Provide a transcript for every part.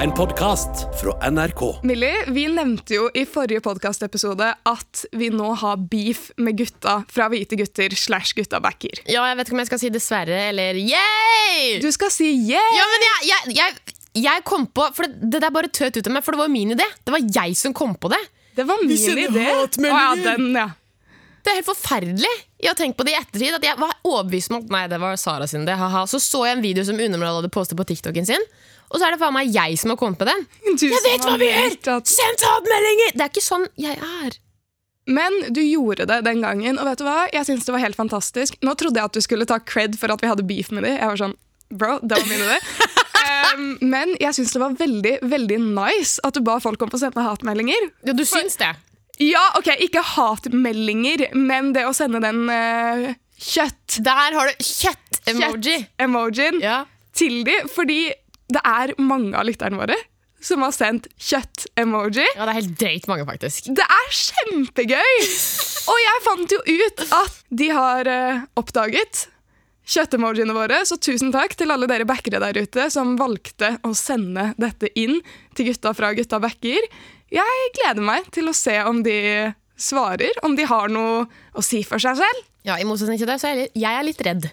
En podkast fra NRK. Millie, vi nevnte jo i forrige podkastepisode at vi nå har beef med gutta fra Hvite gutter slash gutta backer. Ja, jeg vet ikke om jeg skal si dessverre eller yay! Du skal si yeah! Ja, men jeg, jeg, jeg, jeg kom på For det, det der bare tøt ut av meg, for det var jo min idé. Det var jeg som kom på det. Det var min sender idé. Å ja, hatmeldinger. den, ja. Det er helt forferdelig. Jeg har tenkt på det i ettertid. At jeg var overbevist om at Nei, det var Sara sin idé. haha. Så så jeg en video som Unemral hadde postet på TikToken sin. Og så er det faen meg jeg som har kommet med den. Du Jeg som vet har hva vi gjør! meldt At... Send hatmeldinger! Det er ikke sånn jeg er. Men du gjorde det den gangen, og vet du hva? Jeg syns det var helt fantastisk. Nå trodde jeg at du skulle ta cred for at vi hadde beef med dem. Jeg var sånn, bro, det var min idé. um, men jeg syns det var veldig veldig nice at du ba folk om å sende hatmeldinger. Ja, du syns det. Ja, ok, ikke hatmeldinger, men det å sende den eh, kjøtt Der har du kjøtt-emoji. kjøtt-emojien Ja. til de, fordi det er mange av lytterne våre som har sendt kjøtt-emoji. ja, det er helt drøyt mange, faktisk. Det er kjempegøy! Og jeg fant jo ut at de har eh, oppdaget kjøttemojiene våre, så tusen takk til alle dere backere der ute som valgte å sende dette inn til gutta fra Gutta backer. Jeg gleder meg til å se om de svarer, om de har noe å si for seg selv. Ja, I motsetning til deg, så er jeg litt- jeg er litt redd.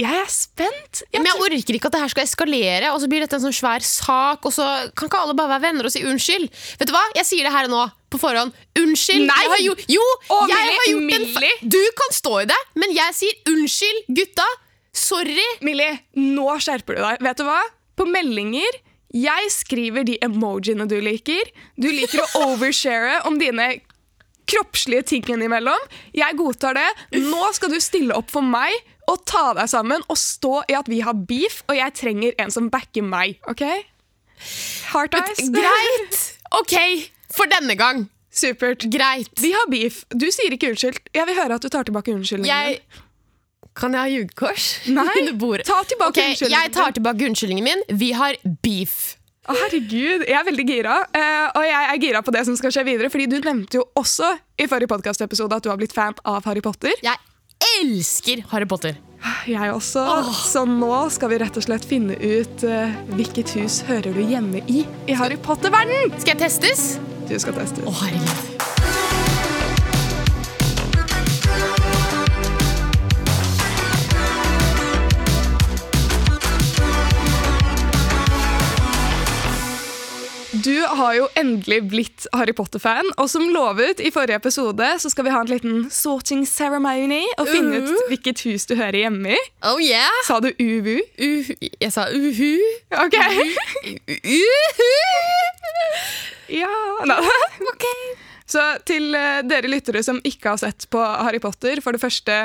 Jeg er spent. Jeg Men jeg orker ikke at det her skal eskalere, og så blir dette en sånn svær sak, og så kan ikke alle bare være venner og si unnskyld. Vet du hva? Jeg sier det her nå, på forhånd. Unnskyld! Nei! Jeg har jo, jo Å, jeg Millie, har gjort en fe- Millie. Du kan stå i det, men jeg sier unnskyld, gutta. Sorry. Millie, nå skjerper du deg. Vet du hva? På meldinger jeg skriver de emojiene du liker. Du liker å overshare om dine kroppslige ting innimellom. Jeg godtar det. Nå skal du stille opp for meg og ta deg sammen og stå i at vi har beef, og jeg trenger en som backer meg. OK? Heart eyes. Greit. OK, for denne gang. Supert. Greit. Vi har beef. Du sier ikke unnskyld. Jeg vil høre at du tar tilbake unnskyldningen. Jeg Kan jeg ha jugekors? Nei, Under bordet. ta tilbake Ok, unnskyldningen Jeg tar tilbake unnskyldningen min. Vi har beef. Å, herregud, jeg er veldig gira. eh, og jeg er gira på det som skal skje videre, fordi du nevnte jo også i forrige podcastepisode at du har blitt fan av Harry Potter. Jeg elsker Harry Potter. Jeg også. Så nå skal vi rett og slett finne ut eh, hvilket hus hører du hjemme i i Harry Potter-verden. Skal jeg testes? Du skal teste. Å, herregud. Du har jo endelig blitt Harry Potter-fan, og som lovet i forrige episode så skal vi ha en liten sorting ceremony og finne ut Uh. hvilket hus du hører hjemme i. Oh yeah! Sa du uvu? Uhu. Jeg sa uhu. Ok. Uhu! Ja. Nei. Ok. Så til eh, dere lyttere som ikke har sett på Harry Potter, for det første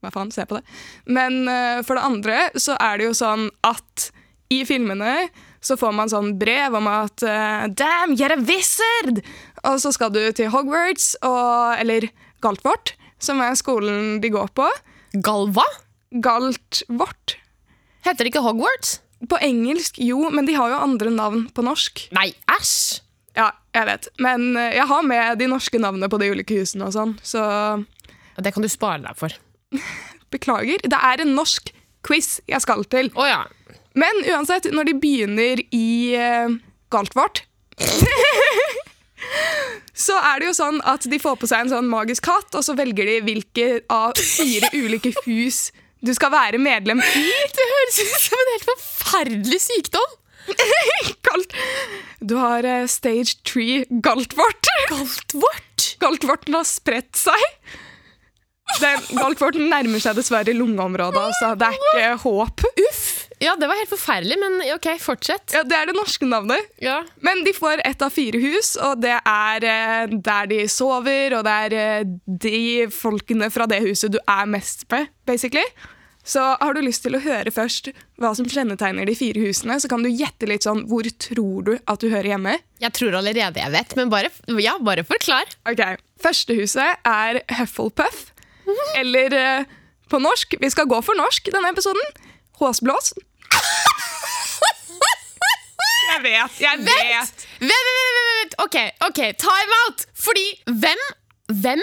Hva faen, se på det. Men eh, for det andre så er det jo sånn at i filmene så får man sånn brev om at eh, Damn, you're a wizard! Og så skal du til Hogwarts, og, eller Galtvort, som er skolen de går på. Galva? Galtvort. Heter det ikke Hogwarts? På engelsk, jo, men de har jo andre navn på norsk. Nei, æsj! Ja, jeg vet. Men eh, jeg har med de norske navnene på de ulike husene og sånn, så Det kan du spare deg for. Beklager, det er en norsk quiz jeg skal til. Å ja. Men uansett, når de begynner i uh, Galtvort Så er det jo sånn at de får på seg en sånn magisk hatt, og så velger de hvilke av fire ulike hus du skal være medlem i. Det høres ut som en helt forferdelig sykdom. Galt. Du har eh, stage three Galtvort. Galtvort? Galtvorten har spredt seg. Den, Galtvorten nærmer seg dessverre lungeområdet, altså. Det er ikke håp. Uff. Ja, det var helt forferdelig, men ok, fortsett. Ja, det er det norske navnet. Ja. Men de får ett av fire hus, og det er eh, der de sover, og det er eh, de folkene fra det huset du er mest med, basically. Så har du lyst til å høre først hva som kjennetegner de fire husene, så kan du gjette litt sånn hvor tror du at du hører hjemme. Jeg tror allerede jeg vet, men bare, ja, bare forklar. Ok, Første huset er Hufflepuff, eller eh, på norsk Vi skal gå for norsk denne episoden. Håsblås. Jeg vet, jeg vet. Vent, vent, vent, vent, vent. Ok, ok, time out! Fordi hvem, hvem,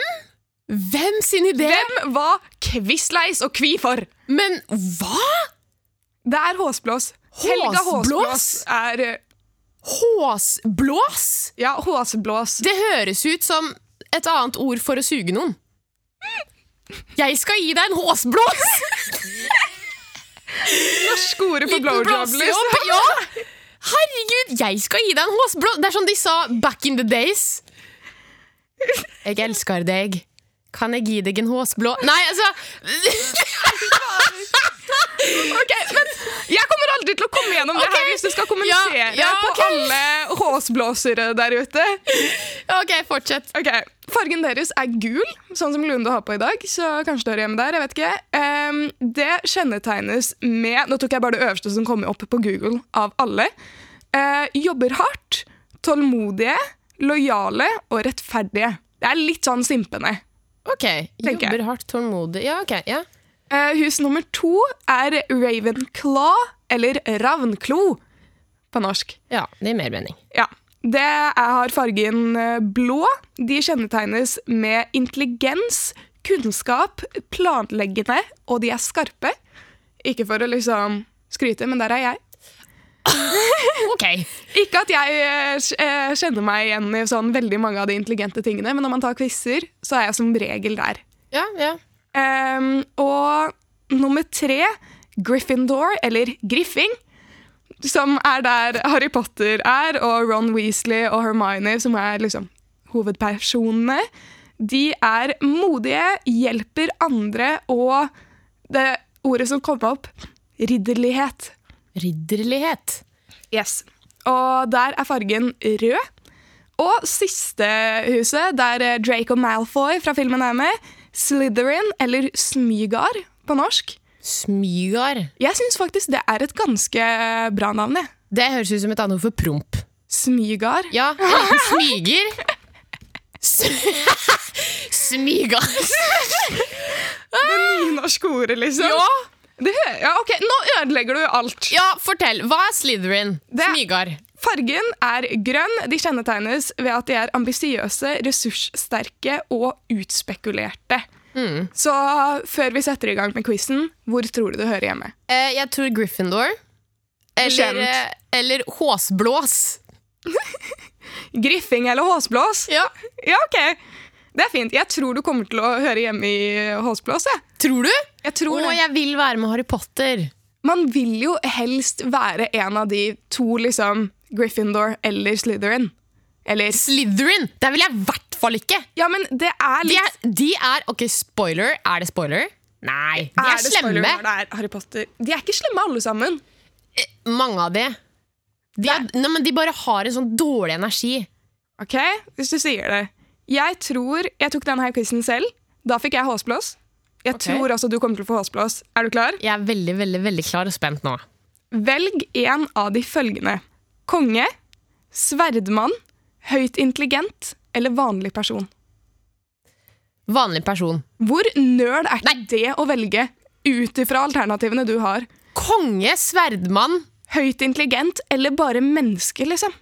hvem sin idé? Hvem var quizleis og kvi for? Men hva? Det er håsblås. Helga Håsblås Håsblås? er eh, Håsblås? Ja, Håsblås. Det høres ut som et annet ord for å suge noen. Jeg skal gi deg en håsblås! Norske ordet for Liten blowjob. liksom. blåsejobb! Ja! Herregud, jeg skal gi deg en håsblås! Det er sånn de sa back in the days. Jeg elsker deg. Kan jeg gi deg en håsblå... Nei, altså Ok, men Jeg kommer aldri til å komme gjennom det Ok. her hvis du skal kommunisere Ja, ja, ok. på alle håsblåsere der ute. OK, fortsett. Ok, Fargen deres er gul, sånn som Lunde har på i dag. så kanskje det hører hjemme der, jeg vet ikke. Ehm, det kjennetegnes med Nå tok jeg bare det øverste som kom opp på Google av alle. Eh, jobber hardt, tålmodige, lojale og rettferdige. Det er litt sånn simpende. OK. Tenker jeg. Jobber hardt, tålmodig Ja, OK. ja Eh, hus nummer to er Ravenclaw, eller Ravnklo på norsk. Ja, det gir mer mening. Ja. Det er- har fargen eh, blå. De kjennetegnes med intelligens, kunnskap, planleggende, og de er skarpe. Ikke for å liksom skryte, men der er jeg. OK. Ikke at jeg eh, kj- eh, kjenner meg igjen i sånn veldig mange av de intelligente tingene, men når man tar quizer, så er jeg som regel der. Ja, ja. Ehm, og nummer tre, Gryffindor, eller Griffing, som er der Harry Potter er, og Ron Weasley og Hermione, som er liksom hovedpersonene. De er modige, hjelper andre, og det ordet som kom opp, ridderlighet. Ridderlighet. Yes. Og der er fargen rød. Og siste huset, der eh, Draco Malfoy fra filmen er med, Slytherin, eller Smygar på norsk. Smygar. Jeg syns faktisk det er et ganske eh, bra navn. jeg. Det høres ut som et annet ord for promp. Smygar. Ja, en liten smyger. Smyger. Det nynorske ordet, liksom. Ja. Det hø- ja, ok, Nå ødelegger du alt. Ja, fortell. Hva er Slytherin? Det- Smygar. Fargen er grønn. De kjennetegnes ved at de er ambisiøse, ressurssterke og utspekulerte. Mm. Så før vi setter i gang med quizen, hvor tror du du hører hjemme? Eh, jeg tror Gryffindor. Eller, Kjent. eh, eller Håsblås. Griffing eller håsblås? Ja. Ja, ok. Det er fint. Jeg tror du kommer til å høre hjemme i håsblås. Jeg, Tror du? jeg tror Å, det. jeg vil være med Harry Potter. Man vil jo helst være en av de to, liksom Gryffindor eller Slytherin. Eller Slytherin! Der vil jeg i hvert fall ikke. Ja, men det er De litt er, de er Ok, spoiler. Er det spoiler? Nei. De er, det spoiler slemme. når det er Harry Potter? De er ikke slemme, alle sammen. Eh, Mange av de. De, er, nei, men de bare har en sånn dårlig energi. Ok, Hvis du sier det. Jeg tror Jeg tok denne her quizen selv. Da fikk jeg håsblås. Jeg Ok. tror også du kommer til å få håsblås. Er du klar? Jeg er veldig, veldig, veldig klar og spent nå. Velg en av de følgende. Konge, sverdmann, høyt intelligent eller vanlig person. Vanlig person. Hvor nerd er ikke det å velge ut ifra alternativene du har? Konge, sverdmann Høyt intelligent eller bare menneske, liksom?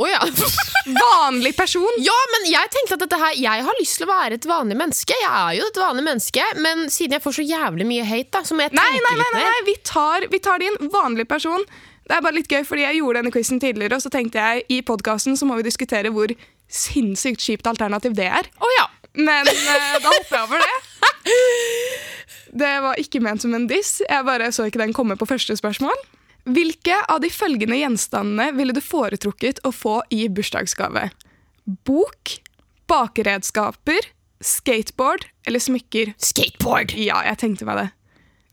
Å ja. Vanlig person? ja, men jeg tenkte at dette her Jeg har lyst til å være et vanlig menneske. Jeg er jo et vanlig menneske, men siden jeg får så jævlig mye hate, da, så må jeg Nei, tenke nei, nei, litt nei, mer. nei. Vi, tar, vi tar det inn. Vanlig person. Det er bare litt gøy, fordi jeg gjorde denne quizen tidligere, og så tenkte jeg i podkasten så må vi diskutere hvor sinnssykt kjipt alternativ det er. Å ja. Men eh, da hopper jeg over det. Det var ikke ment som en diss. Jeg bare så ikke den komme på første spørsmål. Hvilke av de følgende gjenstandene ville du foretrukket å få i bursdagsgave? Bok, bakeredskaper, skateboard eller smykker? Skateboard. Ja, jeg tenkte meg det.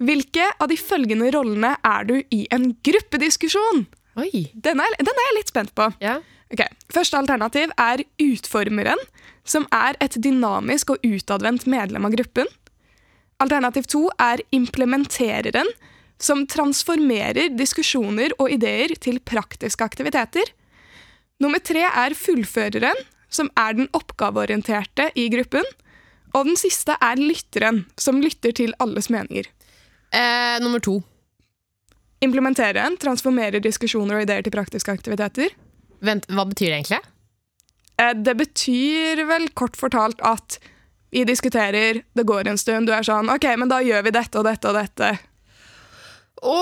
Hvilke av de følgende rollene er du i en gruppediskusjon? Oi. Den er, den er jeg litt spent på. Ja. Ok, Første alternativ er utformeren, som er et dynamisk og utadvendt medlem av gruppen. Alternativ to er implementereren, som transformerer diskusjoner og ideer til praktiske aktiviteter. Nummer tre er fullføreren, som er den oppgaveorienterte i gruppen. Og den siste er lytteren, som lytter til alles meninger. Eh, nummer to. Implementereren transformerer diskusjoner og ideer til praktiske aktiviteter. Vent, hva betyr det egentlig? Eh, Det betyr vel kort fortalt at vi diskuterer, det går en stund, du er sånn OK, men da gjør vi dette og dette og dette. Å,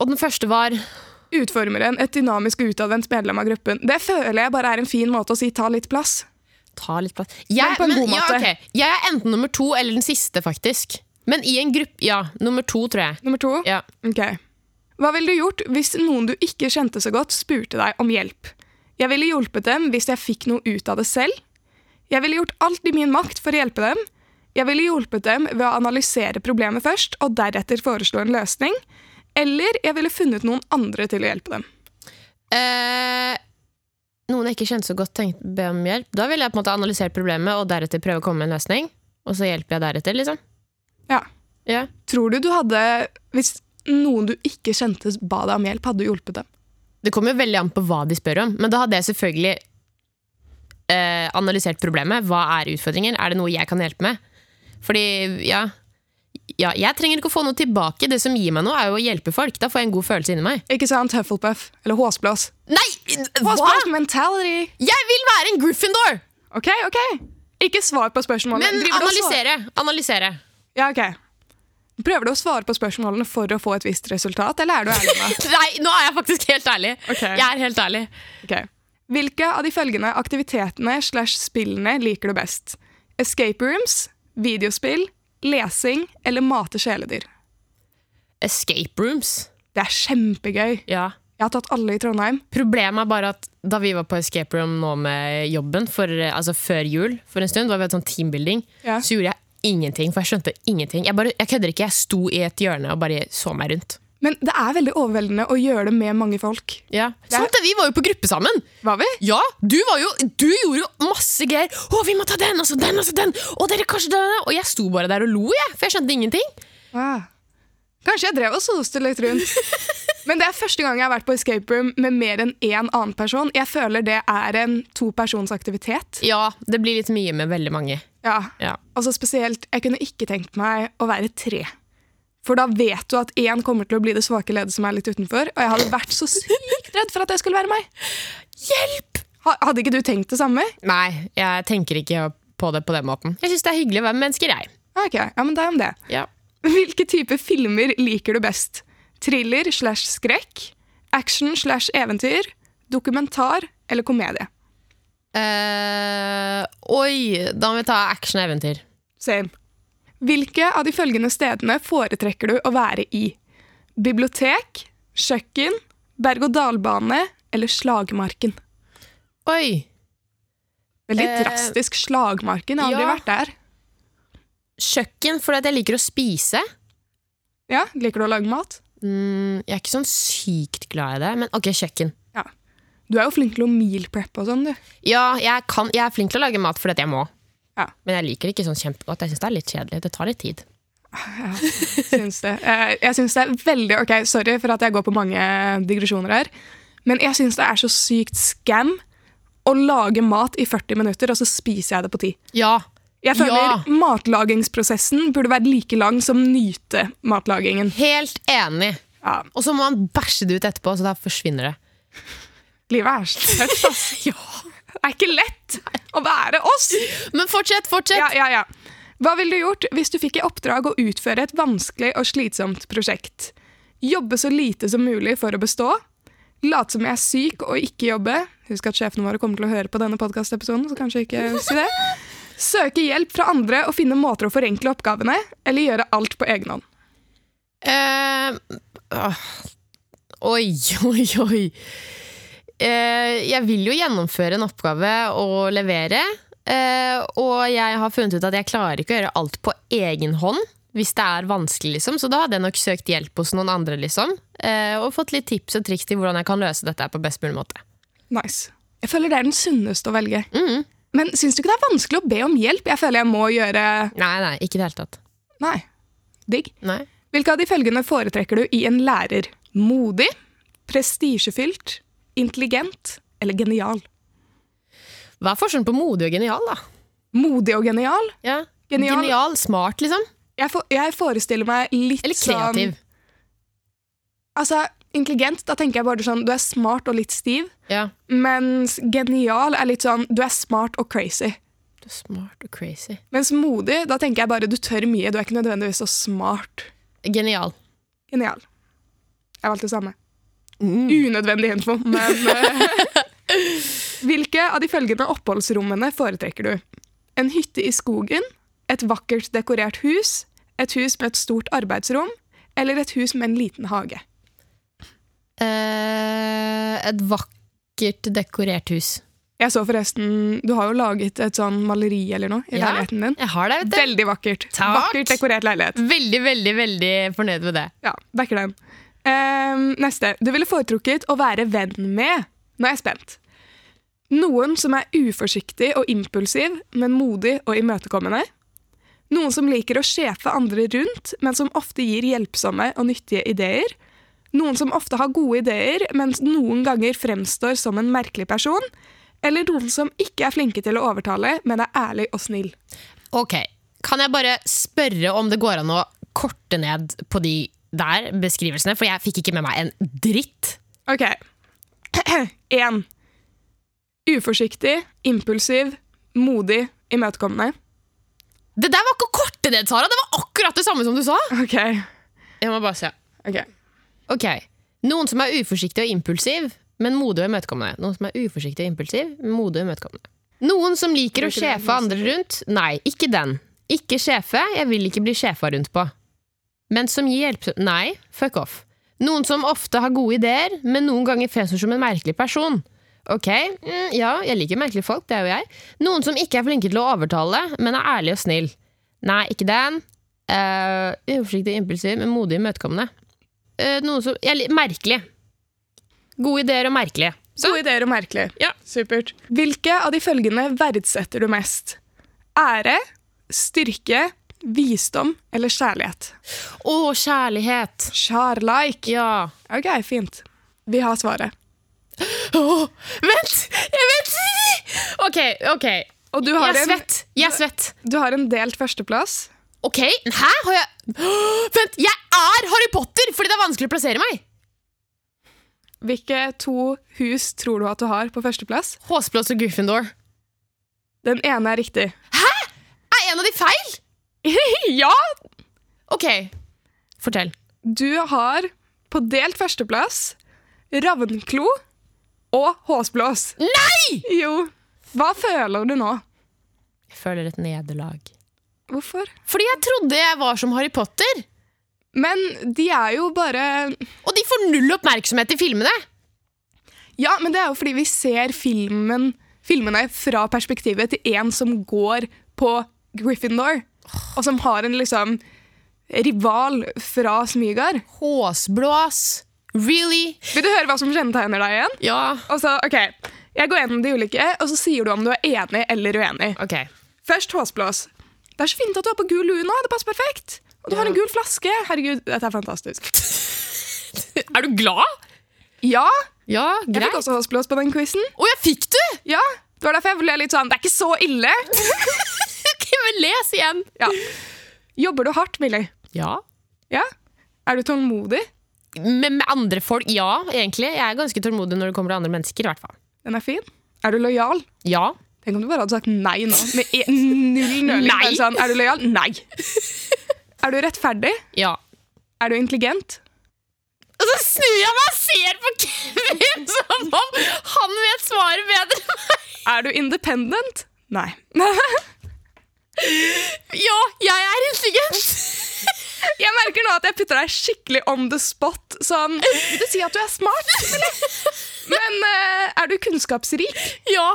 og den første var utformeren et dynamisk og utadvendt medlem av gruppen. Det føler jeg bare er en fin måte å si ta litt plass. Ta litt plass. Men på en god måte. Ja, ok. Jeg er enten nummer to eller den siste, faktisk. Men i en gruppe Ja, nummer to, tror jeg. Nummer to. Ja. Ok. Hva ville du gjort hvis noen du ikke kjente så godt, spurte deg om hjelp? Jeg ville hjulpet dem hvis jeg fikk noe ut av det selv. Jeg ville gjort alt i min makt for å hjelpe dem. Jeg ville hjulpet dem ved å analysere problemet først, og deretter foreslå en løsning. Eller jeg ville funnet noen andre til å hjelpe dem. Eh, noen jeg ikke kjente så godt, tenkte be om hjelp. Da ville jeg på en måte analysert problemet og deretter prøve å komme med en løsning. Og så hjelper jeg deretter, liksom. Ja. Ja. Tror du du hadde, hvis noen du ikke kjente ba deg om hjelp, hadde du hjulpet dem? Det kommer jo veldig an på hva de spør om, men da hadde jeg selvfølgelig eh, analysert problemet. Hva er utfordringen? Er det noe jeg kan hjelpe med? Fordi, ja, ja Jeg trenger ikke å få noe tilbake. Det som gir meg noe, er jo å hjelpe folk. Da får jeg en god følelse inni meg. Ikke sant, Hufflepuff? Eller Håsblås? Nei! Hva? Håsblås mentality! Jeg vil være en Gryffindor! Ok, ok. Ikke svar på spørsmålene. Men Driver du og svarer- analysere. Analysere. Ja, ok. Prøver du å svare på spørsmålene for å få et visst resultat, eller er du ærlig med? Nei, nå er jeg faktisk helt ærlig. Ok. Jeg er helt ærlig. Ok. Hvilke av de følgende aktivitetene slash spillene liker du best? Escape rooms, videospill, lesing eller mate kjæledyr? Escape rooms. Det er kjempegøy. Ja. Jeg har tatt alle i Trondheim. Problemet er bare at da vi var på escape room nå med jobben, for, altså før jul for en stund, var vi et sånn teambuilding, Ja. så gjorde jeg ingenting, for jeg skjønte ingenting. Jeg, bare, jeg kødder ikke, jeg sto i et hjørne og bare så meg rundt. Men det er veldig overveldende å gjøre det med mange folk. Ja. Sant det, Sånn vi var jo på gruppe sammen! Var vi? Ja, du, var jo, du gjorde jo masse greier. Å, vi må ta den, og så den, og så den! Og dere kanskje den, og jeg sto bare der og lo, jeg, for jeg skjønte ingenting. Ah. Kanskje jeg drev og soste litt rundt. Men det er første gang jeg har vært på escape room med mer enn én annen person. Jeg føler det er en topersonsaktivitet. Ja, det blir litt mye med veldig mange. Ja. Ja. Altså spesielt, Jeg kunne ikke tenkt meg å være tre. For da vet du at én kommer til å bli det svake leddet som er litt utenfor. Og jeg hadde vært så sykt redd for at det skulle være meg. Hjelp! Ha- Hadde ikke du tenkt det samme? Nei, jeg tenker ikke på det på den måten. Jeg syns det er hyggelig å være med mennesker, jeg. Ok, ja, men det er om det. Ja. Hvilke typer filmer liker du best? Thriller slash skrekk? Action slash eventyr? Dokumentar eller komedie? Eh, oi, da må vi ta action-eventyr. Same. Hvilke av de følgende stedene foretrekker du å være i? Bibliotek, kjøkken, berg-og-dal-bane eller slagmarken? Oi! Veldig Eh, drastisk. Slagmarken. Jeg har aldri ja. vært der. Kjøkken, fordi at jeg liker å spise. Ja, Liker du å lage mat? Mm, jeg er ikke sånn sykt glad i det, men ok, kjøkken. Ja. Du er jo flink til å meal prep og sånn, du. Ja, jeg, kan, jeg er flink til å lage mat fordi at jeg må. Ja. Men jeg liker det ikke sånn kjempegodt. Jeg syns det er litt kjedelig. Det tar litt tid. Syns det. Eh, Jeg syns det er veldig Ok, sorry for at jeg går på mange digresjoner her, men jeg syns det er så sykt scam å lage mat i 40 minutter, og så spiser jeg det på 10. Ja. Jeg føler Ja. matlagingsprosessen burde være like lang som nyte matlagingen. Helt enig. Ja, Og så må man bæsje det ut etterpå, så da forsvinner det. livet er så tøft, ass. Det er ikke lett å være oss. Men fortsett, fortsett! Ja, ja, ja. Hva ville du gjort hvis du fikk i oppdrag å utføre et vanskelig og slitsomt prosjekt? Jobbe så lite som mulig for å bestå? Late som jeg er syk og ikke jobbe? Husk at sjefene våre kommer til å høre på denne podkastepisoden, så kanskje ikke si det. Søke hjelp fra andre og finne måter å forenkle oppgavene, eller gjøre alt på egen hånd. Eh, åh. oi, oi, oi. Eh, jeg vil jo gjennomføre en oppgave og levere. eh, og jeg har funnet ut at jeg klarer ikke å gjøre alt på egen hånd hvis det er vanskelig. liksom Så da hadde jeg nok søkt hjelp hos noen andre. liksom eh, Og fått litt tips og triks til hvordan jeg kan løse dette her på best mulig måte. Nice. Jeg føler det er den sunneste å velge. Mhm. Men syns du ikke det er vanskelig å be om hjelp? Jeg føler jeg må gjøre Nei, nei, ikke i det hele tatt. Nei. Digg. Nei. Hvilke av de følgende foretrekker du i en lærer? Modig, prestisjefylt, intelligent eller genial? Hva er forskjellen på modig og genial, da? Modig og genial? Ja. Genial. Genial. Smart, liksom. Jeg, for, jeg forestiller meg litt Eller kreativ. sånn Altså, intelligent, da tenker jeg bare sånn du er smart og litt stiv. Ja. Mens genial er litt sånn du er smart og crazy. Du er smart og crazy. Mens modig, da tenker jeg bare du tør mye, du er ikke nødvendigvis så smart. Genial. Genial. Jeg valgte det samme. Mm. Unødvendig info, men eh, Hvilke av de følgende oppholdsrommene foretrekker du? En hytte i skogen, et vakkert dekorert hus, et hus med et stort arbeidsrom, eller et hus med en liten hage? Eh, et vakkert dekorert hus. Jeg så forresten, du har jo laget et sånn maleri eller noe i Ja. leiligheten din. Jeg har det, vet du. Veldig vakkert. Takk. Vakkert dekorert leilighet. Veldig, veldig veldig fornøyd med det. Ja, backer den. Ehm, neste. Du ville foretrukket å være venn med. Nå er jeg spent. Noen som er uforsiktig og impulsiv, men modig og imøtekommende. Noen som liker å sjefe andre rundt, men som ofte gir hjelpsomme og nyttige ideer. Noen som ofte har gode ideer, men noen ganger fremstår som en merkelig person. Eller noen som ikke er flinke til å overtale, men er ærlig og snill. Ok, Kan jeg bare spørre om det går an å korte ned på de der beskrivelsene? For jeg fikk ikke med meg en dritt. Ok. Én. Uforsiktig, impulsiv, modig, imøtekommende. Det der var ikke å korte ned, Sara! Det var akkurat det samme som du sa! Ok. Jeg må bare se. ok. Ok, Noen som er uforsiktig og impulsiv, men modig og imøtekommende. Noen som er uforsiktig og impulsiv, men modig og imøtekommende. Noen som liker å Bruker den sjefe andre rundt. Nei, ikke den. Ikke sjefe. Jeg vil ikke bli sjefa rundt på. Men som gir hjelp Nei, fuck off. Noen som ofte har gode ideer, men noen ganger fremstår som en merkelig person. Ok, mm, ja, jeg liker merkelige folk, det er jo jeg. Noen som ikke er flinke til å overtale, men er ærlig og snill. Nei, ikke den. Uh, uforsiktig, impulsiv, men modig og imøtekommende. Eh, noe som jeg, li- Merkelig. Gode ideer og merkelige. Gode ideer og merkelig. Ja. Supert. Hvilke av de følgende verdsetter du mest? Ære, styrke, visdom eller kjærlighet? Å, kjærlighet! Kjærleik. Ja. Ok, fint. Vi har svaret. Åh, vent! Jeg vet OK, OK. Og du har, Jeg er en, svett. Jeg er svett. du har en delt førsteplass. OK, hæ? Har jeg Åh, Vent, jeg er Harry Potter fordi det er vanskelig å plassere meg! Hvilke to hus tror du at du har på førsteplass? Håsblås og Gryffindor. Den ene er riktig. Er en av de feil? ja! OK, fortell. Du har på delt førsteplass Ravnklo og Håsblås. Nei! Jo. Hva føler du nå? Jeg føler et nederlag. Hvorfor? Fordi jeg trodde jeg var som Harry Potter. Men de er jo bare Og de får null oppmerksomhet i filmene. Ja, men det er jo fordi vi ser filmen, filmene fra perspektivet til en som går på Gryffindor, og som har en liksom rival fra Smygard. Håsblås. Really? Vil du høre hva som kjennetegner deg igjen? Ja. Og så, ok, Jeg går gjennom de ulike, og så sier du om du er enig eller uenig. Ok. Først håsblås. Det er så fint at du har på gul lue nå. Det passer perfekt. Og du har en gul flaske. Herregud, dette er fantastisk. Er du glad? Ja, Ja, jeg fikk greit. også håsblås på den quizen. Å, jeg fikk det! Ja, det var derfor jeg ble litt sånn Det er ikke så ille. Ok, men les igjen. Ja. Jobber du hardt, Millie? Ja. Ja. Er du tålmodig? Med, med andre folk, ja, egentlig. Jeg er ganske tålmodig når det kommer til andre mennesker, i hvert fall. Den er fin. Er du lojal? Ja. Tenk om du bare hadde sagt nei nå. Med e null nøling. Nei. Bare Sånn, er du lojal? Nei. Er du rettferdig? Ja. Er du intelligent? Og så snur jeg meg og ser på Kevin som om han vet svaret bedre. Er du independent? Nei. Ja, jeg er intelligent. Jeg merker nå at jeg putter deg skikkelig on the spot. Sånn, vil du si at du er smart? Eller? Men eh, er du kunnskapsrik? Ja.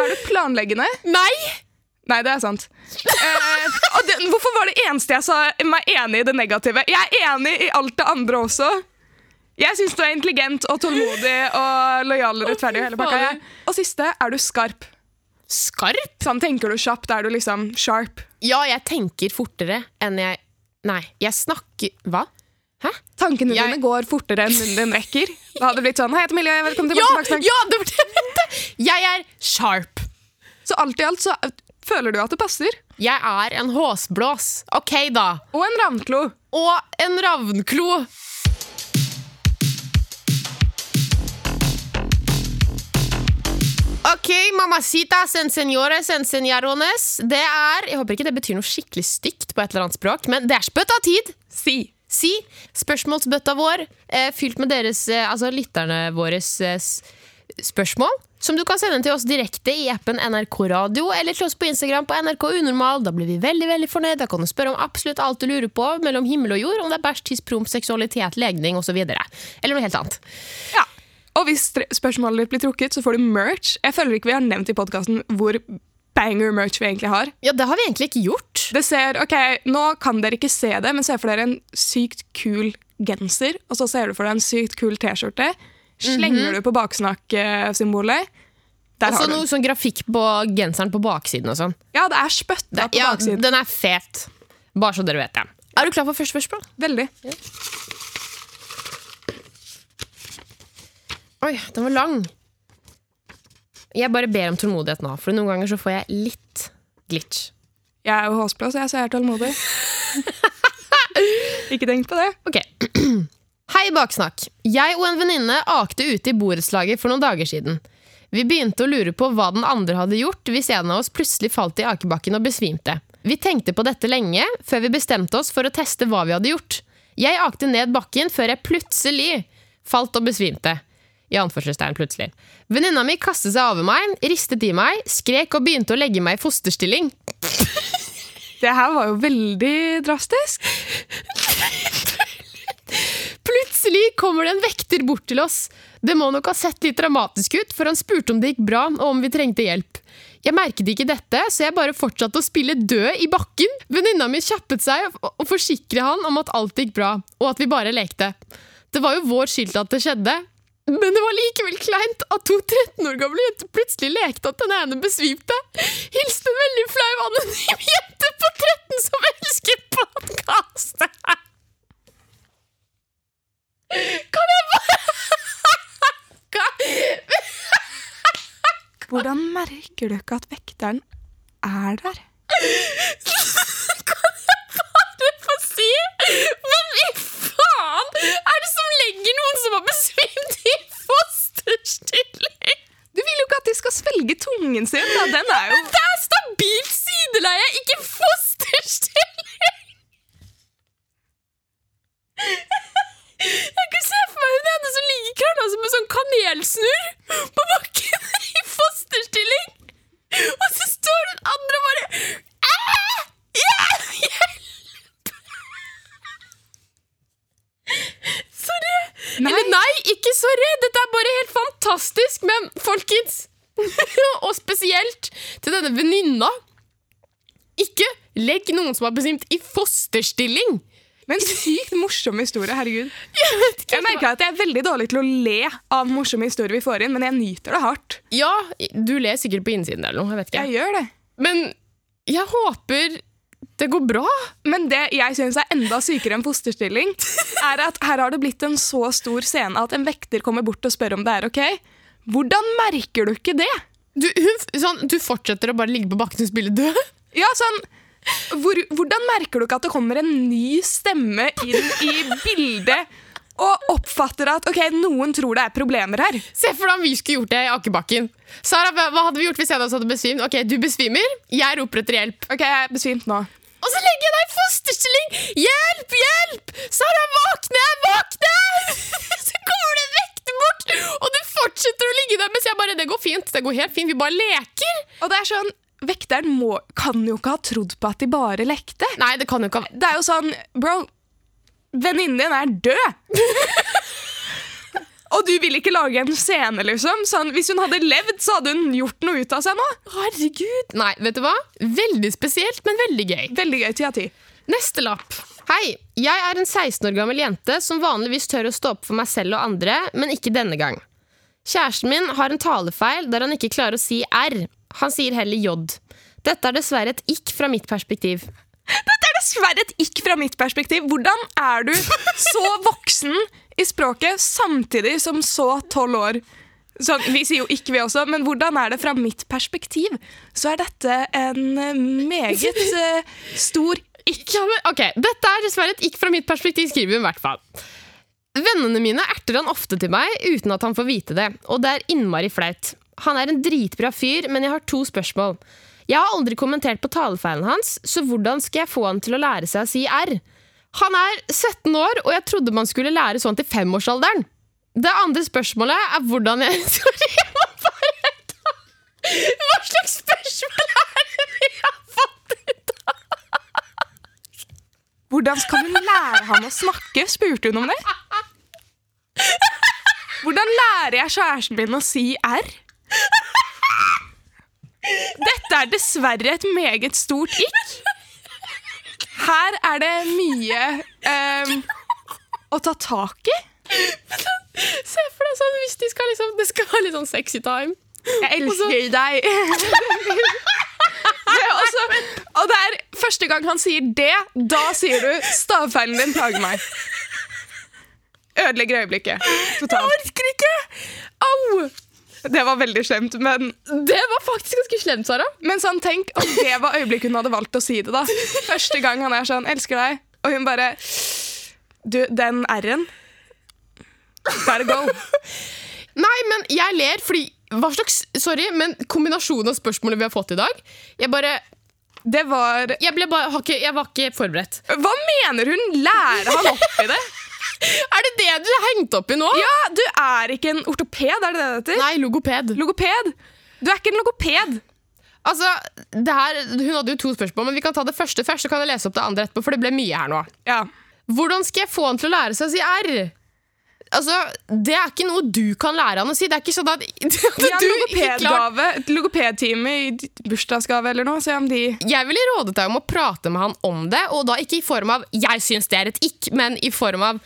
Er du planleggende? Nei. Nei, det er sant. Eh, og det, hvorfor var det eneste jeg sa meg enig i det negative? Jeg er enig i alt det andre også. Jeg syns du er intelligent og tålmodig og lojal og rettferdig. og hele pakka, jeg. Og siste er du skarp. Skarp? Sånn tenker du kjapt. Er du liksom sharp? Ja, jeg tenker fortere enn jeg Nei, jeg snakker Hva? Hæ? Tankene Jeg- dine går fortere enn munnen din rekker. Da hadde det blitt sånn Hei, jeg heter Milje, velkommen til Ja, Baksnakkstank. ja, det var det! Jeg er sharp. Så alt i alt så føler du at det passer. Jeg er en håsblås. Ok, da. Og en ravnklo. Og en ravnklo. Ok, mamacitas en senores en senorones. Det er Jeg håper ikke det betyr noe skikkelig stygt på et eller annet språk, men det er spøtt av tid. Si. si. Spørsmålsbøtta vår, eh, fylt med deres, eh, altså lytterne våres eh, s- spørsmål. Som du kan sende til oss direkte i appen NRK Radio eller til oss på Instagram på NRK Unormal. Da blir vi veldig veldig fornøyd. Da kan du spørre om absolutt alt du lurer på mellom himmel og jord. Om det er bæsj, tiss, promp, seksualitet, legning osv. Eller noe helt annet. Ja. Og hvis tre- spørsmålet ditt blir trukket, så får du merch. Jeg føler ikke vi har nevnt i podkasten hvor banger merch vi egentlig har. Ja, det har vi egentlig ikke gjort. Det ser, ok, Nå kan dere ikke se det, men se for dere en sykt kul genser, og så ser du for deg en sykt kul T-skjorte. Slenger du på baksnakk-symbolet, der Altså har du noe den. sånn grafikk på genseren på baksiden og sånn. Ja, det er spytta på Ja, baksiden. den er fet. Bare så dere vet det. Er du klar for første spørsmål? Veldig. Oi, den var lang. Jeg bare ber om tålmodighet nå, for noen ganger så får jeg litt glitch. Jeg er jo håsblå, så jeg så jeg er tålmodig. ikke tenk på det. Ok. Hei, Baksnakk. Jeg og en venninne akte ute i borettslaget for noen dager siden. Vi begynte å lure på hva den andre hadde gjort hvis en av oss plutselig falt i akebakken og besvimte. Vi tenkte på dette lenge, før vi bestemte oss for å teste hva vi hadde gjort. Jeg akte ned bakken før jeg plutselig falt og besvimte. I anførselstegn plutselig. Venninna mi kastet seg over meg, ristet i meg, skrek og begynte å legge meg i fosterstilling. Det her var jo veldig drastisk. Plutselig kommer det en vekter bort til oss. Det må nok ha sett litt dramatisk ut, for han spurte om det gikk bra, og om vi trengte hjelp. Jeg merket ikke dette, så jeg bare fortsatte å spille død i bakken. Venninna mi kjappet seg og- og forsikret han om at alt gikk bra, og at vi bare lekte. Det var jo vår skyld at det skjedde. Men det var likevel kleint at to 13 år gamle jenter plutselig lekte at den ene besvimte. Hilsen en veldig flau anonym jente på 13 som elsket podkast. Hvordan merker du ikke at vekteren er der? bare få si Hvem i faen er det som legger noen som har besvimt i fosterstilling? Du vil jo ikke at de skal svelge tungen sin. Da. Den er jo Det er stabilt sideleie, ikke fosterstilling! Jeg kunne se for meg hun ene som ligger krølla som en sånn kanelsnurr på bakken i fosterstilling. Og så står den andre og bare «Æ! Hjelp! Hjelp!» Sorry. Nei. Eller nei, ikke sorry. Dette er bare helt fantastisk. Men folkens, og spesielt til denne venninna Ikke legg noen som har besvimt, i fosterstilling! Men sykt morsom historie, herregud. Jeg vet ikke Jeg merker at jeg er veldig dårlig til å le av morsomme historier vi får inn, men jeg nyter det hardt. Ja, du ler sikkert på innsiden eller noe. jeg vet ikke. Jeg gjør det. Men jeg håper det går bra. Men det jeg syns er enda sykere enn fosterstilling, er at her har det blitt en så stor scene at en vekter kommer bort og spør om det er ok. Hvordan merker du ikke det? Du, hun, sånn, du fortsetter å bare ligge på bakken og spille død? Ja, sånn hvor, Hvordan merker du ikke at det kommer en ny stemme inn i bildet og oppfatter at ok, noen tror det er problemer her? Se for deg om vi skulle gjort det i akebakken. Sara, hva hva hadde vi gjort hvis en av oss hadde besvimt? Ok, Du besvimer, jeg roper etter hjelp. Ok, jeg er besvimt nå. Og så legger jeg deg i fosterstilling! Hjelp! Hjelp! Sara, våkne! Våkne! Så kommer det en vekter bort, og du fortsetter å ligge der mens jeg bare Det går fint. Det går helt fint. Vi bare leker. Og det er sånn, vekteren må, kan jo ikke ha trodd på at de bare lekte. Nei, det kan jo ikke ha Det er jo sånn, bro, venninnen din er død. Og du vil ikke lage en scene, liksom. Sånn, hvis hun hadde levd, så hadde hun gjort noe ut av seg nå. Herregud. Nei, vet du hva? Veldig spesielt, men veldig gøy. Veldig gøy ti av ti. Neste lapp. Hei, jeg er en 16 år gammel jente som vanligvis tør å stå opp for meg selv og andre, men ikke denne gang. Kjæresten min har en talefeil der han ikke klarer å si R. Han sier heller J. Dette er dessverre et ikk fra mitt perspektiv. Dette er dessverre et ikk fra mitt perspektiv. Hvordan er du så voksen i språket samtidig som så tolv år? Så, vi sier jo ikke, vi også, men hvordan er det fra mitt perspektiv? Så er dette en eh, meget eh, stor ikk. Ja, men, ok, Dette er dessverre et ikk fra mitt perspektiv, skriver hun i hvert fall. Vennene mine erter han ofte til meg uten at han får vite det, og det er innmari flaut. Han er en dritbra fyr, men jeg har to spørsmål. Jeg har aldri kommentert på talefeilen hans, så hvordan skal jeg få han til å lære seg å si R? Han er 17 år, og jeg trodde man skulle lære sånn til femårsalderen. Det andre spørsmålet er hvordan jeg Sorry, jeg må bare ta Hva slags spørsmål er det vi har fått ut av? Hvordan skal du lære han å snakke? spurte hun om det. Hvordan lærer jeg kjæresten min å si R? Dette er dessverre et meget stort ikk. Her er det mye ehm, å ta tak i. Se for deg sånn hvis de skal liksom Det skal være litt sånn sexy time. Jeg elsker deg. Det er også, og det er første gang han sier det, da sier du stavfeilen din plager meg. Ødelegger øyeblikket. Totalt. Orker ikke! Au! Det var veldig slemt, men, Det var faktisk ganske slemt, Sara. men sånn, tenk om det var øyeblikket hun hadde valgt å si det, da. Første gang han er sånn 'elsker deg', og hun bare Du, den r-en Gotta go. Nei, men jeg ler fordi hva slags, Sorry, men kombinasjonen av spørsmålene vi har fått i dag Jeg bare, Det var jeg ble bare har ikke, Jeg var ikke forberedt. Hva mener hun? Lærer han opp i det? Er det det du har hengt opp i nå? Ja, du er ikke en ortoped, er det det det heter? Nei, logoped. Logoped? Du er ikke en logoped. Altså, det her, Hun hadde jo to spørsmål, men vi kan ta det første først. Så kan jeg lese opp det andre etterpå, for det ble mye her nå. Ja. Hvordan skal jeg få han til å lære seg å si R? Altså, Det er ikke noe du kan lære han å si. Det er ikke sånn at, Vi har en at du ikke klarer logopedgave, et logopedtime i d- bursdagsgave eller noe. Se om de Jeg ville rådet deg om å prate med han om det, og da ikke i form av 'jeg syns det er et ikk', men i form av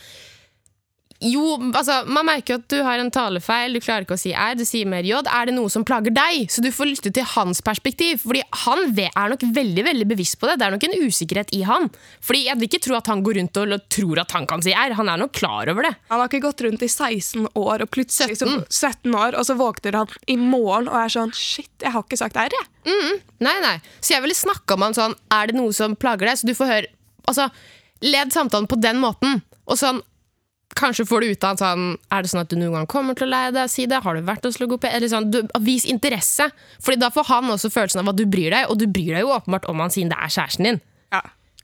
jo, altså, Man merker jo at du har en talefeil, du klarer ikke å si r, du sier mer j. Er det noe som plager deg? Så du får lytte til hans perspektiv. Fordi han ve- er nok veldig veldig bevisst på det. Det er nok en usikkerhet i han. Fordi jeg vil ikke tro at han går rundt og l- tror at han kan si r. Han er nok klar over det. Han har ikke gått rundt i 16 år, og plutselig så- 17 år, og så våkner han i morgen og er sånn Shit, jeg har ikke sagt R, jeg. Nei, nei. Så jeg ville snakka med han sånn Er det noe som plager deg? Så du får høre Altså, led samtalen på den måten. Og sånn Kanskje får du ut av han sånn Er det sånn at du noen gang kommer til å leie deg? Si det. Har du vært hos logoped? Eller sånn, du, vis interesse. Fordi da får han også følelsen av at du bryr deg, og du bryr deg jo åpenbart om han siden det er kjæresten din. Ja.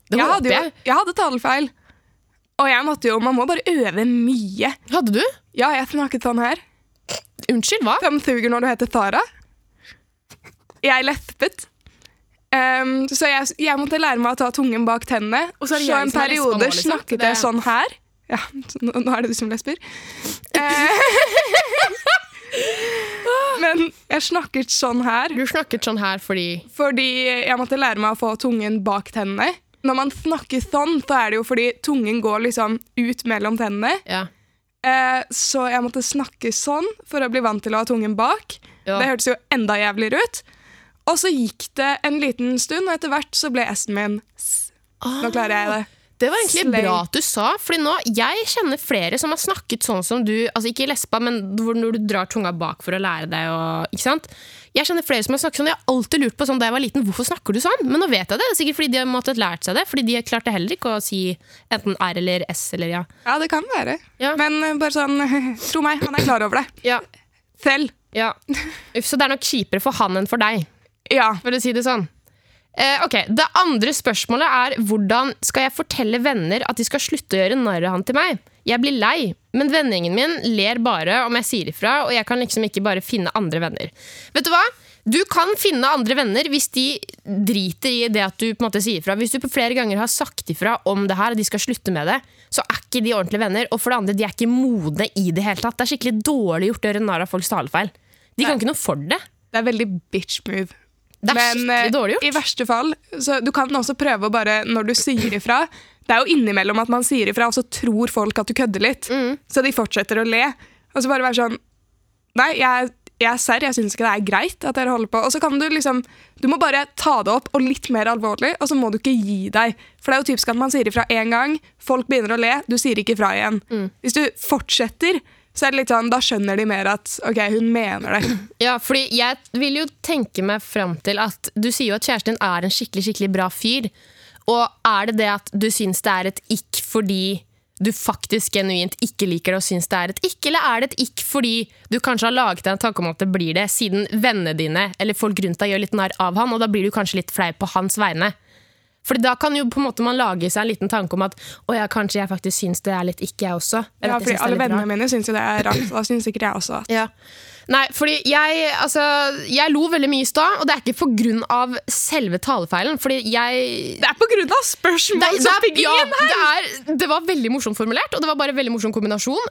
Det Jeg hadde håper jo jeg. jeg hadde talefeil. Og jeg måtte jo Man må bare øve mye. Hadde du? Ja, jeg snakket sånn her. Unnskyld, hva? Hvem suger når du heter Sara? Jeg lespet. Ehm, så jeg, jeg måtte lære meg å ta tungen bak tennene. Og så så er det jeg en som er lesbe nå, periode liksom. snakket Det- jeg sånn her. Ja, så nå, nå er det du som lesber. Eh, men jeg snakket sånn her Du snakket sånn her fordi fordi jeg måtte lære meg å få tungen bak tennene. Når man snakker sånn, så er det jo fordi tungen går liksom ut mellom tennene. Ja. Eh, så jeg måtte snakke sånn for å bli vant til å ha tungen bak. Ja. Det hørtes jo enda jævligere ut. Og så gikk det en liten stund, og etter hvert så ble S-en min S. Ah. Nå klarer jeg det. Det var egentlig Slay. bra at du sa, Fordi nå, jeg kjenner flere som har snakket sånn som du Altså ikke lesba, men hvor når du drar tunga bak for å lære deg og, Ikke sant? Jeg kjenner flere som har snakket sånn Jeg har alltid lurt på sånn da jeg var liten, hvorfor snakker du sånn? Men nå vet jeg det, det er sikkert fordi de har måttet lært seg det Fordi de klarte heller ikke å si enten R eller S eller ja Ja, det kan være. Ja. Men eh, bare sånn Tro meg, han er klar over det. Ja, Selv. ja Uff, så det er nok kjipere for han enn for deg Ja. For å si det sånn Eh, ok, Det andre spørsmålet er hvordan skal jeg fortelle venner at de skal slutte å gjøre narr av han til meg? Jeg blir lei, men vennegjengen min ler bare om jeg sier ifra, og jeg kan liksom ikke bare finne andre venner. Vet du hva? Du kan finne andre venner hvis de driter i det at du på en måte sier ifra. Hvis du på flere ganger har sagt ifra om det her, og de skal slutte med det, så er ikke de ordentlige venner. Og for det andre, de er ikke modne i det hele tatt. Det er skikkelig dårlig gjort å gjøre narr av folks talefeil. De kan ikke noe for det. Det er veldig bitch move. Det er Men eh, skikkelig dårlig gjort. i verste fall så Du kan også prøve å bare, når du sier ifra Det er jo innimellom at man sier ifra, og så tror folk at du kødder litt. Mm. Så de fortsetter å le. Og så bare være sånn Nei, jeg, jeg er serr. Jeg syns ikke det er greit at dere holder på. Og så kan du liksom Du må bare ta det opp, og litt mer alvorlig, og så må du ikke gi deg. For det er jo typisk at man sier ifra én gang, folk begynner å le, du sier ikke ifra igjen. Mm. Hvis du fortsetter, så er det litt sånn Da skjønner de mer at OK, hun mener det. Ja, fordi jeg vil jo tenke meg fram til at du sier jo at kjæresten din er en skikkelig, skikkelig bra fyr. Og er det det at du syns det er et ikk fordi du faktisk genuint ikke liker det og syns det er et ikk, eller er det et ikk fordi du kanskje har laget deg en tanke om at det blir det, siden vennene dine eller folk rundt deg gjør litt narr av han, og da blir du kanskje litt flau på hans vegne? Fordi da kan jo på en måte man lage seg en liten tanke om at å ja, kanskje jeg faktisk syns det er litt ikke, jeg også. Eller Ja, at jeg fordi syns det er alle litt rart. vennene mine syns jo det er rart. Da syns sikkert jeg også at Ja. Nei, fordi jeg, altså, jeg lo veldig mye i stad, og det er ikke på grunn av selve talefeilen. Fordi jeg Det er på grunn av det, spørsmål er- liksom som det, er- pingvin ja, her! det, er, det var veldig morsomt formulert, og det var bare en veldig morsom kombinasjon.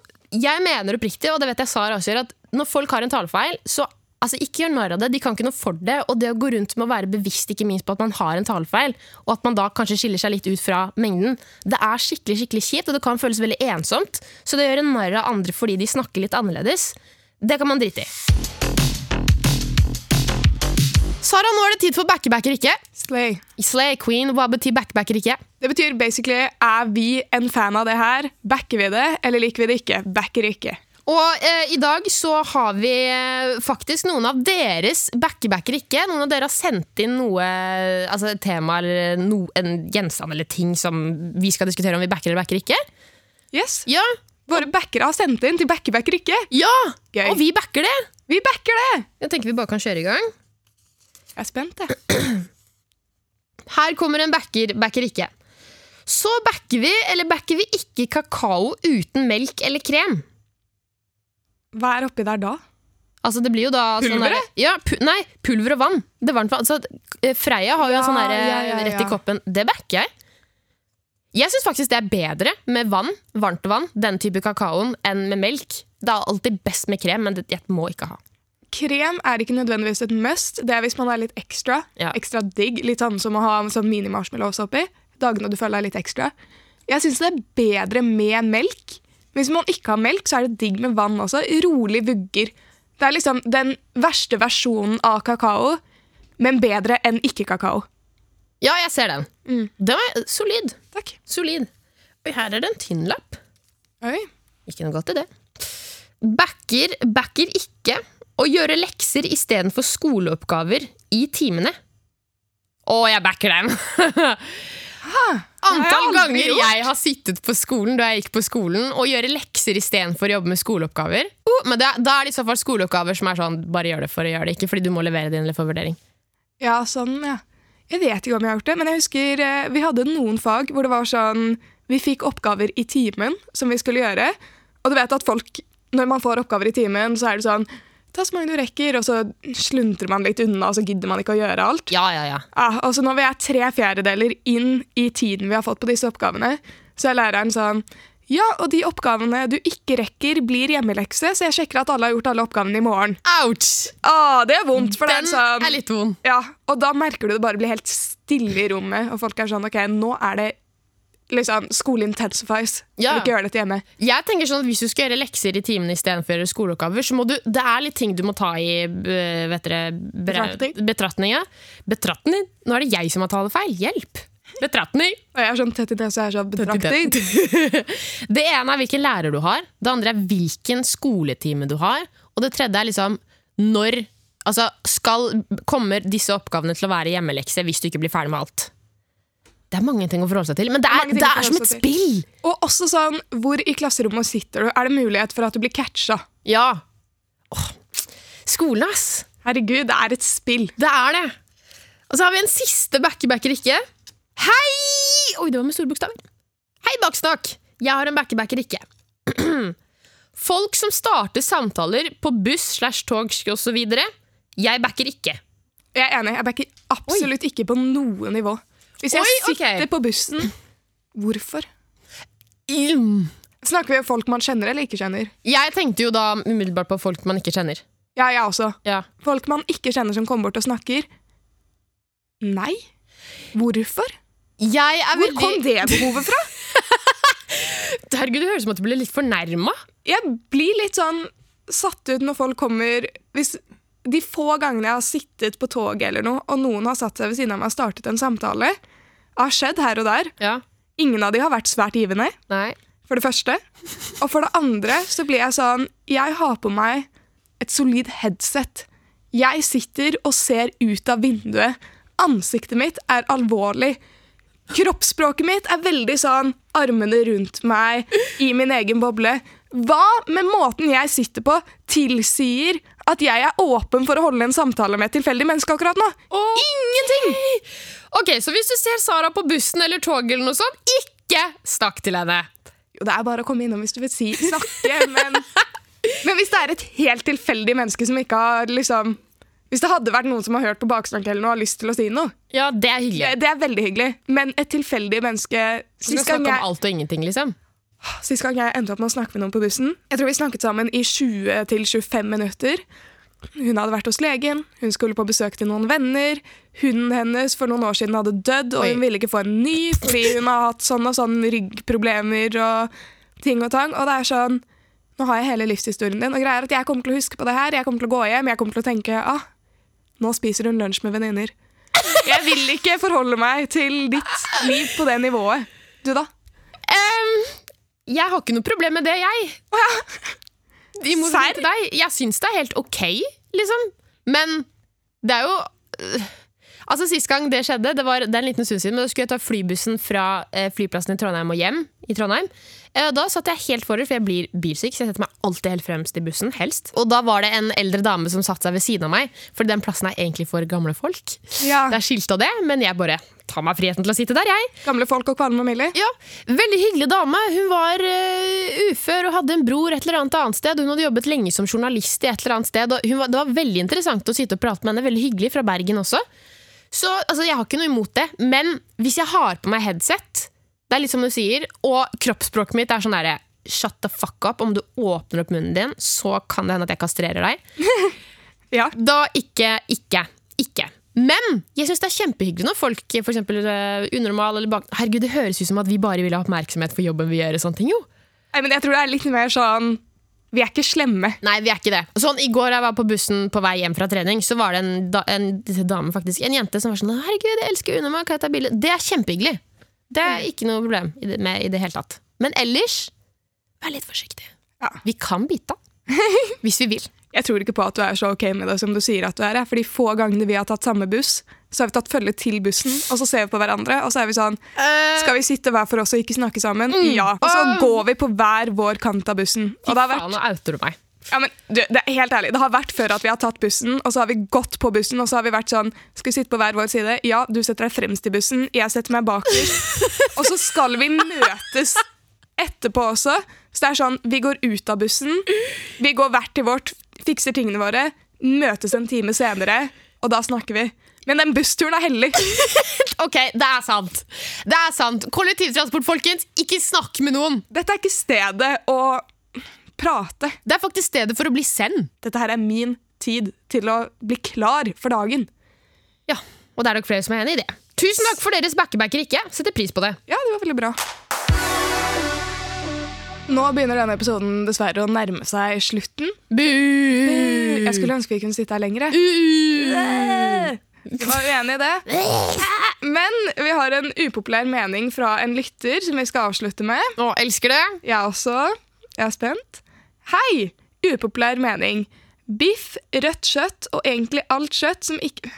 Jeg mener oppriktig, og det vet jeg Sara også gjør, at når folk har en talefeil, så altså, ikke gjør narr av det. De kan ikke noe for det. Og det å gå rundt med å være bevisst ikke minst på at man har en talefeil, og at man da kanskje skiller seg litt ut fra mengden, det er skikkelig skikkelig kjipt, og det kan føles veldig ensomt. Så det å gjøre narr av andre fordi de snakker litt annerledes, det kan man drite i. Sara, nå er det tid for backbacker ikke. Slay. Slay queen, hva betyr backbacker ikke? Det betyr basically er vi en fan av det her? Backer vi det, eller liker vi det ikke? Backer ikke. Og eh, i dag så har vi eh, faktisk noen av deres backebacker ikke. Noen av dere har sendt inn noe altså et tema eller no, en gjenstand eller ting som vi skal diskutere om vi backer eller backer ikke. Yes. Ja, Våre backere har sendt inn til backer backer ikke. ja! Gøy. Og vi backer det! Vi backer det! Jeg tenker vi bare kan kjøre i gang. Jeg er spent, jeg. Her kommer en backer, backer ikke. Så backer vi eller backer vi ikke kakao uten melk eller krem? Hva er oppi der da? Altså det blir jo da sånn Pulveret? derre- ja, pu nei, pulver og vann. Det er varmt vann. Altså, eh, Freia har jo Ja, en sånn derre ja, ja, rett i ja. koppen. Det backer jeg. Jeg syns faktisk det er bedre med vann, varmt vann, den type kakaoen, enn med melk. Det er alltid best med krem, men det jeg må ikke ha. Krem er ikke nødvendigvis et must. Det er hvis man er litt ekstra. Ja. Ekstra digg. Litt sånn som å ha sånn mini-marshmallows oppi. Dagene du føler deg litt ekstra. Jeg syns det er bedre med melk. Hvis man ikke har melk, så er det digg med vann også. Rolig vugger. Det er liksom den verste versjonen av kakao, men bedre enn ikke-kakao. Ja, jeg ser den. Mm. Den var solid. Takk. Solid. Oi, her er det en tynn lapp. Oi. Ikke noe godt i det. Backer, backer ikke å gjøre lekser istedenfor skoleoppgaver i timene. Å, jeg backer den! Det har Antall jeg aldri ganger gjort. jeg har sittet på skolen da jeg gikk på skolen, og gjøre lekser istedenfor å jobbe med skoleoppgaver. Uh, men det, da er det i så fall skoleoppgaver som er sånn bare gjør det for å gjøre det, ikke fordi du må levere din eller få vurdering. Ja, sånn, ja. Jeg vet ikke om jeg har gjort det, men jeg husker eh, vi hadde noen fag hvor det var sånn Vi fikk oppgaver i timen som vi skulle gjøre. Og du vet at folk, når man får oppgaver i timen, så er det sånn Ta så mange du rekker, og så sluntrer man litt unna, og så gidder man ikke å gjøre alt. Ja, ja, ja. Ja, altså Når vi er tre fjerdedeler inn i tiden vi har fått på disse oppgavene, så er læreren sånn Ja, og de oppgavene du ikke rekker, blir hjemmelekse, så jeg sjekker at alle har gjort alle oppgavene i morgen. Ouch! Ah, det er vondt, for Den det er sånn er litt vond. ja, og da merker du det bare blir helt stille i rommet, og folk er sånn OK, nå er det liksom Skole intensifies. Skal Ja. vi ikke gjøre dette hjemme? Jeg tenker sånn at Hvis du skal gjøre lekser i timene istedenfor å gjøre skoleoppgaver, så må du Det er litt ting du må ta i øh, vet dere, bere- Betraktning. betraktning. ja. Betraktning? Nå er det jeg som har talefeil. Hjelp! Betraktning! Og jeg er sånn tett i det, så jeg er sånn betraktning. Det ene er hvilken lærer du har. Det andre er hvilken skoletime du har. Og det tredje er liksom når Altså, skal, kommer disse oppgavene til å være hjemmelekse hvis du ikke blir ferdig med alt? Det er mange ting å forholde seg til, men det er, Mange ting det å er som forholde et seg spill! Og også sånn, hvor i klasserommet sitter du? Er det mulighet for at du blir catcha? Ja. Åh. Skolen, ass! Herregud, det er et spill. Det er det. Og så har vi en siste backebacker ikke. Hei! Oi, det var med store bokstaver. Hei, baksnakk! Jeg har en backebacker ikke. Folk som starter samtaler på buss slash tog osv. Jeg backer ikke. Jeg er enig, jeg backer absolutt ikke på noe nivå. Hvis jeg Oi, ok. sitter på bussen, hvorfor? Mm. Snakker vi om folk man kjenner eller ikke kjenner? Jeg tenkte jo da umiddelbart på folk man ikke kjenner. Ja, jeg også. Ja. Folk man ikke kjenner som kommer bort og snakker. Nei. Hvorfor? Jeg er Hvor veldig kom det behovet fra? Herregud, det høres ut som at du ble litt fornærma. Jeg blir litt sånn satt ut når folk kommer Hvis de få gangene jeg har sittet på toget eller noe, og noen har satt seg ved siden av meg og startet en samtale, har skjedd her og der. Ja. Ingen av de har vært svært givende, Nei. for det første. Og for det andre så blir jeg sånn Jeg har på meg et solid headset. Jeg sitter og ser ut av vinduet. Ansiktet mitt er alvorlig. Kroppsspråket mitt er veldig sånn armene rundt meg, i min egen boble. Hva med måten jeg sitter på, tilsier at jeg er åpen for å holde en samtale med et tilfeldig menneske akkurat nå? Ingenting! Ok, Så hvis du ser Sara på bussen eller toget, eller noe sånt, ikke snakk til henne. Jo, det er bare å komme innom hvis du vil si snakke, men Men hvis det er et helt tilfeldig menneske som ikke har liksom Hvis det hadde vært noen som har hørt på baksnakk eller noe og har lyst til å si noe, Ja, det er hyggelig. det, det er veldig hyggelig, men et tilfeldig menneske Du skal Sist gang, snakke om jeg, alt og ingenting, liksom. sist gang jeg endte opp med å snakke med noen på bussen Jeg tror vi snakket sammen i 20-25 minutter. Hun hadde vært hos legen, hun skulle på besøk til noen venner. Hunden hennes for noen år siden hadde dødd, og Oi. hun ville ikke få en ny fordi hun har hatt sånn og sånn ryggproblemer og ting og tang. Og det er sånn Nå har jeg hele livshistorien din, og greier at jeg kommer til å huske på det her. Jeg kommer til å gå hjem, jeg kommer til å tenke ah, nå spiser hun lunsj med venninner. Jeg vil ikke forholde meg til ditt liv på det nivået. Du, da? Jeg har ikke noe problem med det, jeg. I motsetning til deg. Jeg syns det er helt ok, liksom. Men det er jo øh, Altså, Sist gang det skjedde, det var det er en liten stund siden, men da skulle jeg ta flybussen fra eh, flyplassen i Trondheim og hjem. i Trondheim. Eh, da satt jeg helt forrest, for jeg blir bilsyk, så jeg setter meg alltid helt fremst i bussen. helst. Og da var det en eldre dame som satte seg ved siden av meg, for den plassen er egentlig for gamle folk. Ja, Det er skilt av det, men jeg bare tar meg friheten til å sitte der, jeg. Gamle folk og kvalme og Millie? Ja, Veldig hyggelig dame. Hun var eh, ufør og hadde en bror et eller annet annet sted. Hun hadde jobbet lenge som journalist i et eller annet sted. Og hun var, det var veldig interessant å sitte og prate med henne. Veldig hyggelig fra Bergen også. Så altså, jeg har ikke noe imot det. Men hvis jeg har på meg headset, det er litt som du sier, og kroppsspråket mitt er sånn derre Shut the fuck up. Om du åpner opp munnen din, så kan det hende at jeg kastrerer deg. Ja. Da ikke, ikke, ikke. Men jeg syns det er kjempehyggelig når folk for eksempel, eh, unormal eller bak... Herregud, det høres ut som at vi bare vil ha oppmerksomhet for jobben vi gjør. og sånne ting, jo. Nei, men jeg tror det er litt mer sånn Vi er ikke slemme. Nei, vi er ikke det. Sånn, I går jeg var på bussen på vei hjem fra trening, så var det en, da, en dame, faktisk, en jente, som var sånn Herregud, jeg elsker Unormal, kan jeg ta bilde? Det er kjempehyggelig. Det Mm. er ikke noe problem i det, med i det hele tatt. Men ellers, vær litt forsiktig. Ja. Vi kan bite av. Hvis vi vil. Jeg tror ikke på at du er så ok med det som du sier at du er. jeg, For de få gangene vi har tatt samme buss, så har vi tatt følge til bussen, og så ser vi på hverandre, og så er vi sånn Skal vi sitte hver for oss og ikke snakke sammen? Ja. Og så går vi på hver vår kant av bussen. Og det har vært Faen, nå outer du meg. Ja, men du, det er helt ærlig. Det har vært før at vi har tatt bussen, og så har vi gått på bussen, og så har vi vært sånn Skal vi sitte på hver vår side? Ja, du setter deg fremst i bussen, jeg setter meg bakerst. og så skal vi møtes etterpå også. Så det er sånn, vi går ut av bussen, vi går hvert til vårt, fikser tingene våre, møtes en time senere, og da snakker vi. Men den bussturen er hellig. Ok, det er sant. Det er sant. Kollektivtransport, folkens. Ikke snakk med noen. Dette er ikke stedet å prate. Det er faktisk stedet for å bli send. Dette her er min tid til å bli klar for dagen. Ja, og det er nok flere som er enig i det. Tusen takk for deres backebacker ikke. Setter pris på det. Ja, det var veldig bra. Nå begynner denne episoden dessverre å nærme seg slutten. Bu! Jeg skulle ønske vi kunne sitte her lenger. Mm. jeg. Vi var uenige i det. Men vi har en upopulær mening fra en lytter som vi skal avslutte med. Å, elsker det. Jeg også. Jeg er spent. Hei! Upopulær mening. Biff, rødt kjøtt og egentlig alt kjøtt som ikke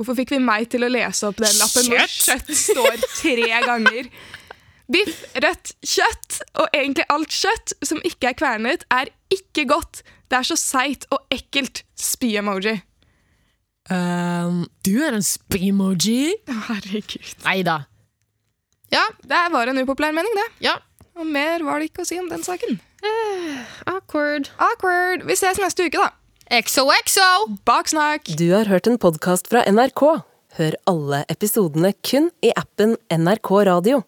Hvorfor fikk vi meg til å lese opp den lappen hvor Kjøtt? kjøtt står tre ganger? Biff, rødt kjøtt og egentlig alt kjøtt som ikke er kvernet, er ikke godt. Det er så seigt og ekkelt. Spy-emoji. Ehm, du er en spy-emoji. Herregud. Nei da. Ja, Det var en upopulær mening, det. ja. Og mer var det ikke å si om den saken. Awkward. Awkward. Vi ses neste uke, da. XOXO! Baksnakk. Du har hørt en podkast fra NRK. Hør alle episodene kun i appen NRK Radio.